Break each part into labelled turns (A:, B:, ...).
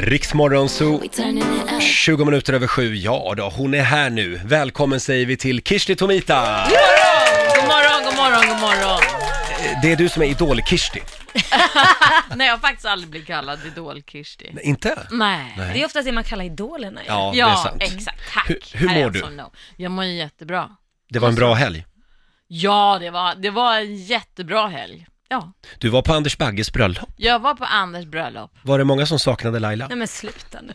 A: Riksmorgon Zoo, 20 minuter över sju. Ja då, hon är här nu. Välkommen säger vi till Kishti Tomita!
B: God morgon, god morgon, god morgon.
A: Det är du som är Idol-Kishti.
B: Nej, jag har faktiskt aldrig blivit kallad idol-Kirsti.
A: Nej, Inte?
B: Nej.
C: Det är ofta det man kallar idolerna. ju.
A: Ja, det är
B: Ja,
A: sant.
B: exakt. Tack. alltså,
A: Hur- hur
B: Här är
A: mår
B: jag
A: du?
B: som no. Jag mår ju jättebra.
A: Det var en bra helg.
B: Ja, det var, det var en jättebra helg. Ja,
A: Du var på Anders Bagges bröllop.
B: jag var på Anders bröllop.
A: Var det många som saknade Laila?
C: Nej men sluta nu.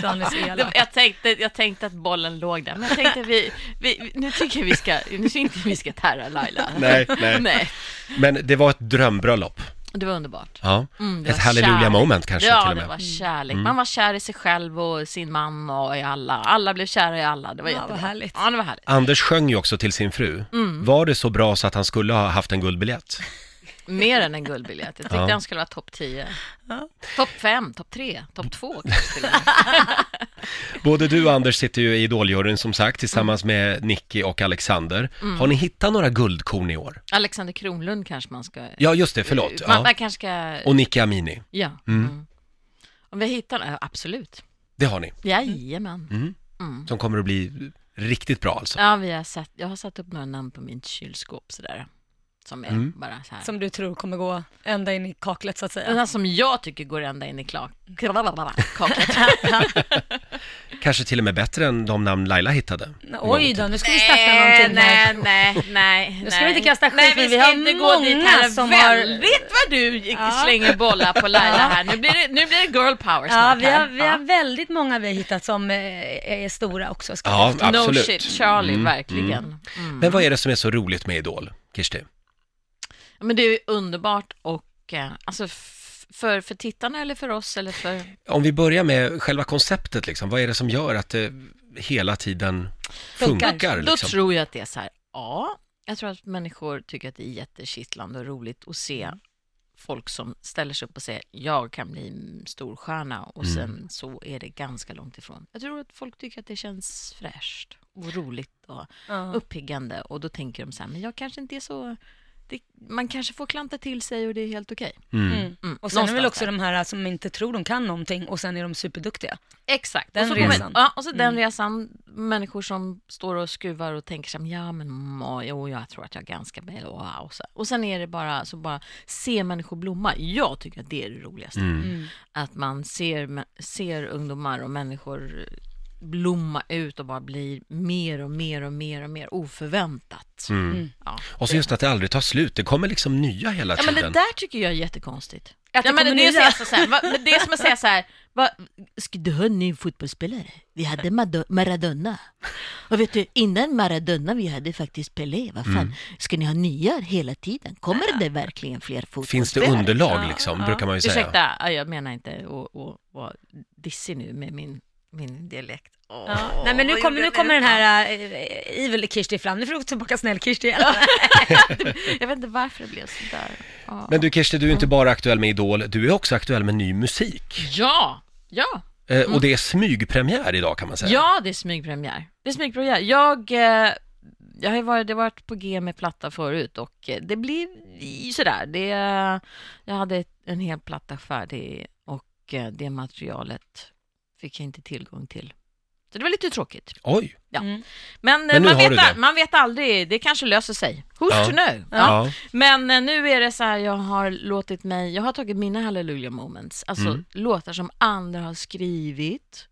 C: Sanne så
B: Det, var-
C: elak.
B: jag, tänkte, jag tänkte att bollen låg där, men jag tänkte att vi, vi, nu tycker jag vi ska, nu tycker inte vi ska tära Laila.
A: Nej, nej.
B: Nej,
A: Men det var ett drömbröllop.
B: det var underbart.
A: Ja.
B: Mm, det
A: ett
B: var
A: halleluja
B: kärlek.
A: moment kanske
B: ja,
A: till och
B: det
A: med. Mm.
B: var kärlek. Man var kär i sig själv och sin man och i alla. Alla blev kära i alla. Det var
C: Ja,
B: jättebra.
C: vad härligt.
B: Ja, det var härligt.
A: Anders sjöng ju också till sin fru.
B: Mm.
A: Var det så bra så att han skulle ha haft en guldbiljett?
B: Mer än en guldbiljett. Jag tyckte
A: Ja.
B: han skulle vara topp 10. Topp 5, topp 3, topp 2 kanske till och med.
A: Både du och Anders sitter ju i Idoljuryn som sagt tillsammans med Nicky och Alexander.
B: Mm.
A: Har ni hittat några guldkorn i år?
B: Alexander Kronlund kanske man ska...
A: Ja, just det, förlåt.
B: Eh, Man,
A: Ja.
B: man kanske ska...
A: Och Nicky Amini,
B: Ja. Mm. Om vi hittar... ja, Absolut.
A: det har ni,
B: Jajamän.
A: Mm.
B: Mm.
A: som kommer att bli riktigt bra alltså.
B: Ja, vi har satt... Jag har satt upp några namn på mitt kylskåp sådär. Som är
A: Mm.
B: bara så här.
C: Som du tror kommer gå ända in i kaklet så att
B: Den
C: säga.
B: här som jag tycker går ända in i klak... kaklet.
A: Kanske till och med bättre än de namn Laila hittade.
C: Oj då, nu ska vi starta någonting här.
B: Eh, Nej, nej, nej.
C: Nu ska vi inte kasta skit, men vi har många som har-
B: Väldigt vad du slänger bollar på Laila här. Nu blir det, nu blir det girl power
C: Ja,
B: snart
C: vi har,
B: här.
C: vi har väldigt många vi har hittat som eh, är stora också. Ska
A: Ja,
B: Ja. No
A: absolut. Mm,
B: shit Charlie, verkligen. Mm.
A: Men vad är det som är så roligt med Idol, Kirsti?
B: Men det är ju underbart och eh, alltså f- för, för tittarna eller för oss eller för...
A: Om vi börjar med själva konceptet, liksom. vad är det som gör att det hela tiden funkar?
B: Då
A: liksom?
B: tror jag att det är så här, ja, jag tror att människor tycker att det är jättekittlande och roligt att se
A: Mm.
B: folk som ställer sig upp och säger jag kan bli en storstjärna och
A: Mm.
B: sen så är det ganska långt ifrån. Jag tror att folk tycker att det känns fräscht och roligt och
C: Ja.
B: uppiggande och då tänker de så här, men jag kanske inte är så, det, man kanske får klanta till sig och det är helt okej.
C: Mm.
B: Mm,
C: Och sen är det väl
B: någonstans
C: också
B: där.
C: de här eh, som inte tror de kan någonting och sen är de superduktiga.
B: Exakt.
C: Den
B: och så kommer-
C: resan.
B: Ja, och så den resan, människor som står och skruvar och tänker så här, ja men mm, jo, jag tror att jag är ganska bra. Och, så. och sen är det bara, så bara se människor blomma. Jag tycker att det är det roligaste. Att man ser, ser ungdomar och människor blomma ut och bara blir mer och mer och mer och mer oförväntat. Ja.
A: Och så just att det aldrig tar slut, det kommer liksom nya hela
B: Ja men
A: tiden.
B: det där tycker jag är jättekonstigt.
C: Att det
B: ja, men
C: kommer
B: det, är så
C: nya.
B: här- så här, va, men det är som att säga så här, va, ska du ha en ny fotbollsspelare? Vi hade Mad- Maradona. Och vet du, innan Maradona vi hade faktiskt Pelé, vad fan,
A: Mm.
B: ska ni ha nya hela tiden? Kommer det verkligen fler fotbollsspelare?
A: Finns det underlag liksom, brukar man ju säga.
B: Ursäkta, ja, jag menar inte att att vara dissig nu med min, min dialekt. Åh,
C: Nej men nu
B: vad
C: kommer,
B: gjorde
C: nu
B: jag
C: kommer den här äh, evil Kirsti fram, nu får du gå tillbaka snäll Kirsti igen.
B: Jag vet inte varför det blev sådär. Ja.
A: Men du Kirsti, du är inte bara aktuell med Idol, du är också aktuell med ny musik.
B: ja, ja.
A: Eh, Och det är smygpremiär idag kan man säga.
B: Ja, det är smygpremiär. Det är smygpremiär. Jag, eh, jag har ju varit, det har varit på G med platta förut och eh, det blev i- sådär. Det, eh, jag hade ett- en hel platta färdig och eh, det materialet fick jag inte tillgång till. Så det var lite tråkigt.
A: Oj!
B: Men, eh,
A: Men nu
B: man,
A: har du
B: vet, al-
A: det.
B: man vet aldrig, det kanske löser sig. Who's
A: Ja.
B: to know? Ja.
A: Ja.
B: Men eh, nu är det så här, jag har låtit mig, jag har tagit mina hallelujah moments, alltså låtar som andra har skrivit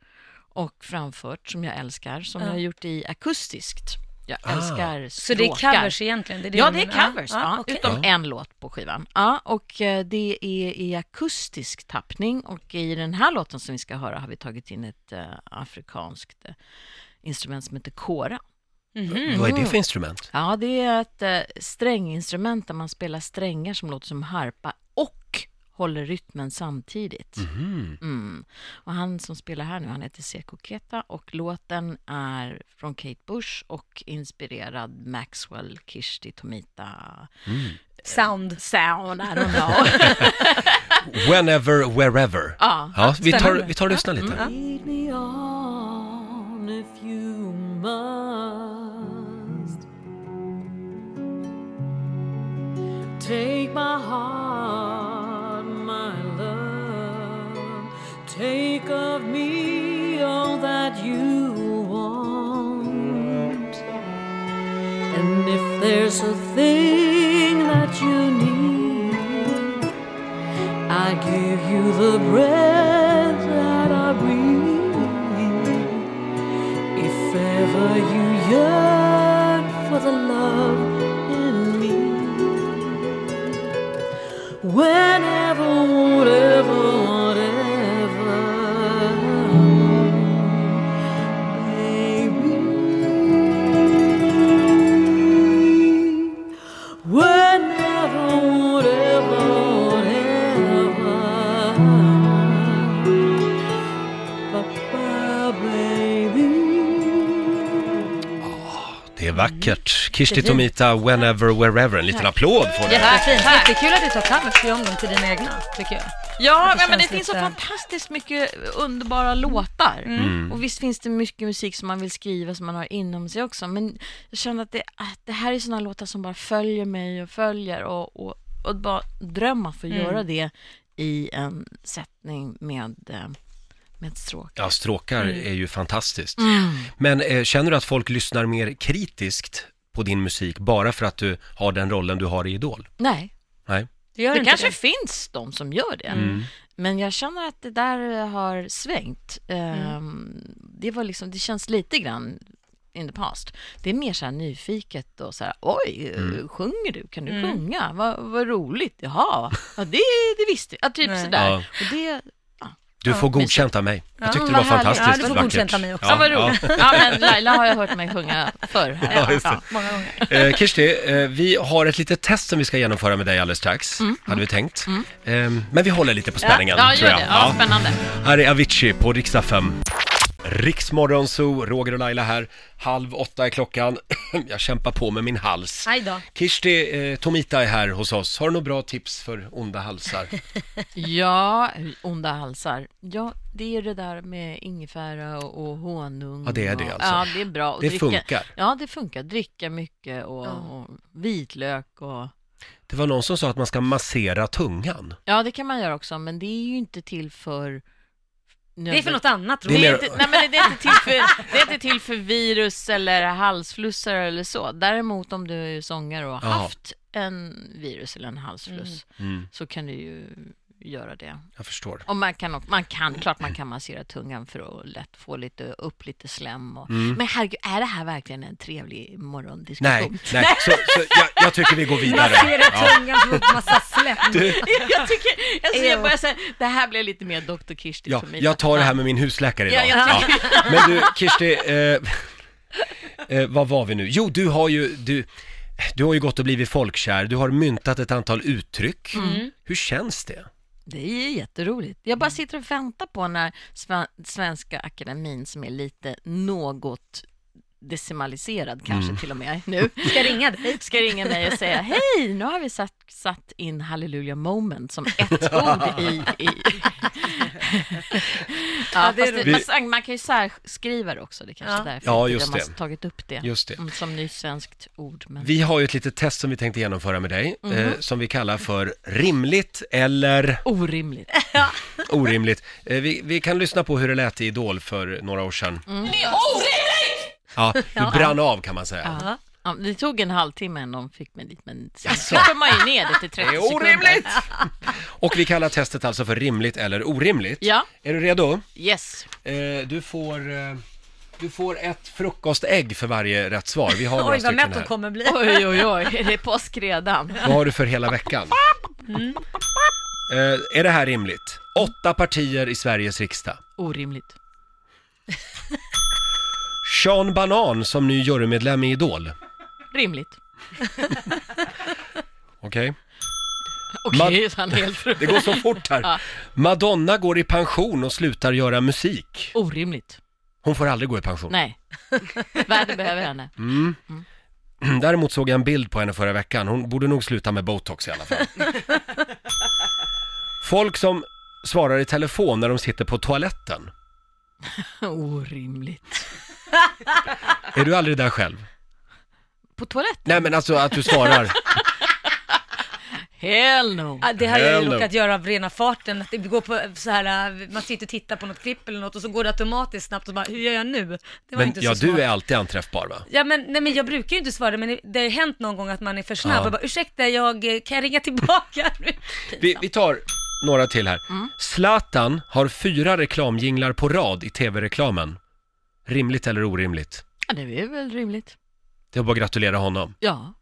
B: och framfört som jag älskar, som jag har gjort i akustiskt. Jag
A: Ah.
B: älskar
C: Så det är
B: stråkar.
C: covers egentligen? Det är det
B: Ja,
C: du
B: det är
C: menar?
B: covers,
C: Ja,
B: ja,
C: ja, okej.
B: utom en låt på skivan. Ja, och eh, det är i akustisk tappning och i den här låten som vi ska höra har vi tagit in ett eh, afrikanskt eh, instrument som heter kora.
A: Vad är det för instrument?
B: Ja, det är ett eh, stränginstrument där man spelar strängar som låter som harpa och håller rytmen samtidigt. Mm. Och han som spelar här nu, han heter Seko Keta och låten är från Kate Bush och inspirerad Maxwell Kishti Tomita
C: Sound.
B: sound, I don't know.
A: Whenever, wherever.
B: ja. Mm,
A: Ja, vi tar,
C: spännande.
A: vi tar och lyssnar lite.
B: Lead me on if you must. Take my heart, my love,
D: Take of me all that you want. And if there's a thing that you need, I give you the breath that I breathe. If ever you yearn for the love in me, whenever, whatever, whatever, baby. Whenever, whatever, whatever, Papa, baby.
A: Det är vackert. Kirsti Tomita, Whenever, Wherever. En liten applåd får du.
C: Ja, fint. Jättekul att du tar cover om dem till dina egna, tycker jag.
B: Ja,
C: Det
B: men, men det
C: känns
B: finns så
C: lite-
B: fantastiskt mycket underbara låtar. Och visst finns det mycket musik som man vill skriva som man har inom sig också. Men jag känner att det, att det här är sådana låtar som bara följer mig och följer och, och, och bara drömma att få göra det i en sättning med, eh, med ett stråk.
A: Ja, stråkar är ju fantastiskt. Men eh, känner du att folk lyssnar mer kritiskt på din musik bara för att du har den rollen du har i Idol?
B: Nej,
A: Nej. Mm.
C: Du gör
B: det
C: inte
B: kanske
C: det.
B: finns de som gör det. Men jag känner att det där eh, har svängt. Ehm, Det, var liksom, det känns lite grann in the past. Det är mer så här nyfiket och så här, oj, eh,
A: Mm.
B: sjunger du? Kan du sjunga? Vad, vad roligt, jaha, ja, det, det visste jag. Ja, typ
C: Nej.
B: sådär.
A: Ja.
B: Och det,
A: Du får godkänt av mig. Jag tyckte det var
B: vad härligt.
A: fantastiskt
C: Ja, du får
A: vackert.
C: godkänt av mig också.
B: ja, vad roligt. Ja. men Laila har jag hört mig sjunga förr här.
A: Ja, just det.
B: Ja.
C: Många gånger.
A: Eh, Kirsti, eh, vi har ett litet test som vi ska genomföra med dig alldeles strax, hade vi tänkt. Eh, men vi håller lite på spänningen,
B: Mm. Ja,
A: tror
B: gör
A: jag.
B: det. Ja,
A: Ja.
B: spännande.
A: Här är Avicii på riksdag 5. Riksmorgonzoo, Roger och Laila här. Halv åtta är klockan. Jag kämpar på med min hals.
C: Aj då.
A: Kirsti eh, Tomita är här hos oss. Har du några bra tips för onda halsar?
B: Ja, onda halsar. Ja, det är det där med ingefära och, och honung.
A: Ja, det är det
B: och-
A: alltså.
B: Ja, det är bra. Och
A: Det
B: dricka,
A: funkar.
B: Ja, det funkar. Dricka mycket och, och vitlök och...
A: Det var någon som sa att man ska massera tungan.
B: Ja, det kan man göra också, men det är ju inte till för...
C: Det är för något annat,
A: Det är
B: Det är
A: mer-
C: Roger.
B: inte, nej men det är, inte till för, det är inte till för virus eller halsflussar eller så. Däremot om du är sångare och har
A: Jaha.
B: haft en virus eller en halsfluss
A: Mm,
B: så kan du ju göra det.
A: jag förstår.
B: Och man kan, och- man kan, klart man kan massera tungan för att lätt få lite, upp lite slem. Och,
A: Mm.
B: Men herregud, är det här verkligen en trevlig morgondiskussion?
A: Nej, nej, så, så jag, jag tycker vi går vidare.
C: Massera
A: Ja.
C: tungan på en massa släpp.
B: jag tycker, alltså, jag
C: Ew.
B: börjar säga, det här blev lite mer Dr. Kirsti
A: Ja,
B: för mig.
A: jag tar det här med min husläkare idag.
B: Ja, jag
A: Men du, Kirsti, eh, eh, vad var vi nu? Jo, du har ju, du, du har ju gått och blivit folkkär, du har myntat ett antal uttryck.
B: Mm.
A: Hur känns det?
B: Det är jätteroligt. Jag
A: Mm.
B: bara sitter och väntar på när Sven- Svenska Akademin som är lite något decimaliserad kanske
A: Mm.
B: till och med nu,
C: Ska ringa dig.
B: ska ringa mig och säga hej, nu har vi satt, satt in Hallelujah moment som ett ord i... i. ja, fast det,
A: roligt.
B: man, man kan ju särskriva det också, det kanske är därför
A: Ja,
B: inte
A: just
B: de har
A: det.
B: tagit upp det,
A: Just det.
B: Mm, som ny svenskt ord. Men...
A: Vi har ju ett litet test som vi tänkte genomföra med dig, eh,
B: Mm.
A: som vi kallar för rimligt eller
B: Orimligt.
A: orimligt. Eh, vi, vi kan lyssna på hur det lät i Idol för några år sedan.
B: Mm.
D: Det är orimligt!
A: Ja, du brann av kan man säga.
B: Ja. Ja, det tog en halvtimme innan de fick mig dit, men sen släpper man ju ner det till 30
A: Det är
B: sekunder.
A: orimligt! Och vi kallar testet alltså för rimligt eller orimligt.
B: Ja.
A: Är du redo?
B: Yes.
A: Eh, du, får, eh, du får ett frukostägg för varje rätt svar. Vi har några
C: Oj, vad
A: stycken
C: mätt
A: här.
C: hon kommer bli.
B: Oj, oj, oj, är det påsk redan?
A: Vad har du för hela veckan?
C: Mm.
A: Eh, är det här rimligt? Åtta partier i Sveriges riksdag.
B: Orimligt.
A: Sean Banan som ny jurymedlem i Idol.
B: Rimligt.
A: Okej?
B: Okej,
A: Man-
B: så han är helt
A: Det går så fort här. Madonna går i pension och slutar göra musik.
B: Orimligt.
A: Hon får aldrig gå i pension.
B: Nej. Världen behöver henne.
A: Mm.
C: Mm.
A: Däremot såg jag en bild på henne förra veckan. Hon borde nog sluta med botox i alla fall. Folk som svarar i telefon när de sitter på toaletten.
B: Orimligt.
A: Är du aldrig där själv?
B: På toaletten?
A: Nej men alltså att du svarar.
B: Hell no.
C: Ja, Det har jag ju
A: Hello.
C: råkat göra av rena farten. Att det går på så här, äh, man sitter och tittar på något klipp eller något och så går det automatiskt snabbt och bara, hur gör jag nu? Det var
A: Men
C: inte så
A: ja,
C: smart.
A: du är alltid anträffbar va?
C: Ja men, nej, men jag brukar ju inte svara men det har ju hänt någon gång att man är för snabb
A: Ja.
C: och bara ursäkta jag, eh, kan jag ringa tillbaka?
A: Vi, vi tar några till här.
C: Mm.
A: Zlatan har fyra reklamjinglar på rad i tv-reklamen. Rimligt eller orimligt?
B: Ja, det är väl rimligt.
A: Det är bara att gratulera honom.
B: Ja,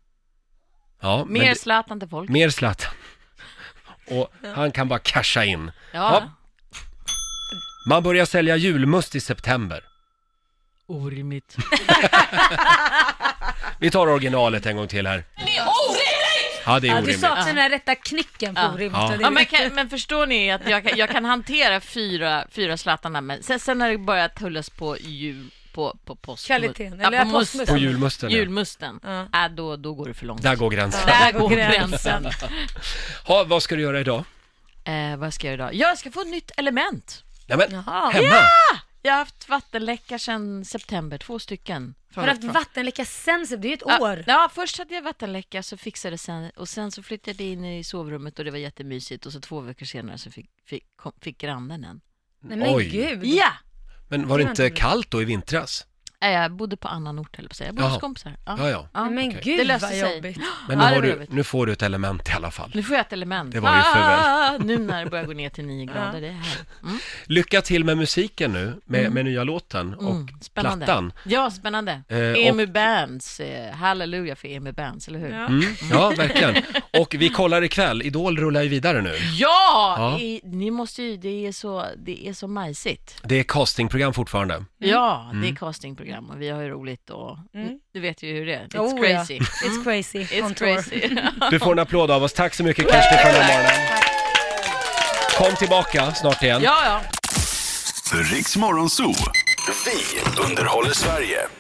A: Ja, men
B: mer
A: det-
B: Zlatan till folk.
A: mer Zlatan. Och han kan bara casha in.
B: Ja.
A: Man börjar sälja julmust i september.
B: Orimligt.
A: Vi tar originalet en gång till här.
E: Det är orimligt!
A: Ja, det är
C: Ja, du
A: orimligt.
C: saknar den här rätta knicken på
B: Ja.
C: orimligt.
A: Ja.
C: och det-
B: Ja, men, kan, men förstår ni att jag kan, jag kan hantera fyra, fyra Zlatarna, men sen, sen när det börjar tullas på jul, på, på post...
C: Kvaliteten,
B: ja,
C: eller
B: på
C: postmusten.
A: På
B: musten,
A: julmusten, ja.
B: julmusten,
C: Ja.
B: ja. då, då går det för långt.
A: Där går gränsen.
B: Där går
C: gränsen.
B: gränsen.
A: Ha, vad ska du göra idag?
B: Eh, vad ska jag göra idag? Jag ska få ett nytt element.
A: Nej, men,
C: Jaha.
A: hemma?
B: Jag har haft vattenläcka sedan september, två stycken. Från
C: Har du haft
B: från-
C: vattenläcka sen, så det är ju ett år.
B: Ja, ja, först hade jag vattenläcka så fixade jag sen och sen så flyttade jag in i sovrummet och det var jättemysigt och så två veckor senare så fick, fick, kom, fick grannen en.
C: Nej men
A: Oj.
C: gud.
B: Ja!
A: Men var det inte kallt då i vintras?
B: Eh, Jag bodde på annan ort höll jag på att säga. Jag bodde
A: Jaha.
B: hos kompisar. Ja.
A: Ja, ja.
B: Ja.
C: Nej, men
A: okej.
C: gud
B: Det löste
C: vad
B: sig.
C: jobbigt.
A: Men nu,
B: Ja,
A: har
B: det var
A: du,
B: jobbigt.
A: nu får du ett element i alla fall.
B: Nu får jag ett element.
A: Det var ju för väl.
B: Ah, nu när det börjar gå ner till 9 grader. Det är här.
A: Lycka till med musiken nu, med, med nya låten och
B: Mm, spännande.
A: plattan.
B: Ja, spännande.
A: Eh, och-
B: Emu Bands. Eh, halleluja för Emu Bands, eller hur? Ja,
A: Mm, ja, verkligen. Och vi kollar ikväll, Idol rullar ju vidare nu. Ja.
B: I, ni måste ju, det är så, det är så majsigt.
A: Det är castingprogram fortfarande.
C: Mm.
B: Ja, det
A: Mm.
B: är castingprogram och vi har ju roligt och du vet ju hur det är. It's
C: Oh, ja.
B: crazy.
C: It's crazy. on
B: It's
C: tour.
B: crazy.
A: Du får en applåd av oss. Tack så mycket Kirsti för den här morgonen. Kom tillbaka snart igen.
B: ja, ja.
F: Riks Morgonzoo. Vi underhåller Sverige.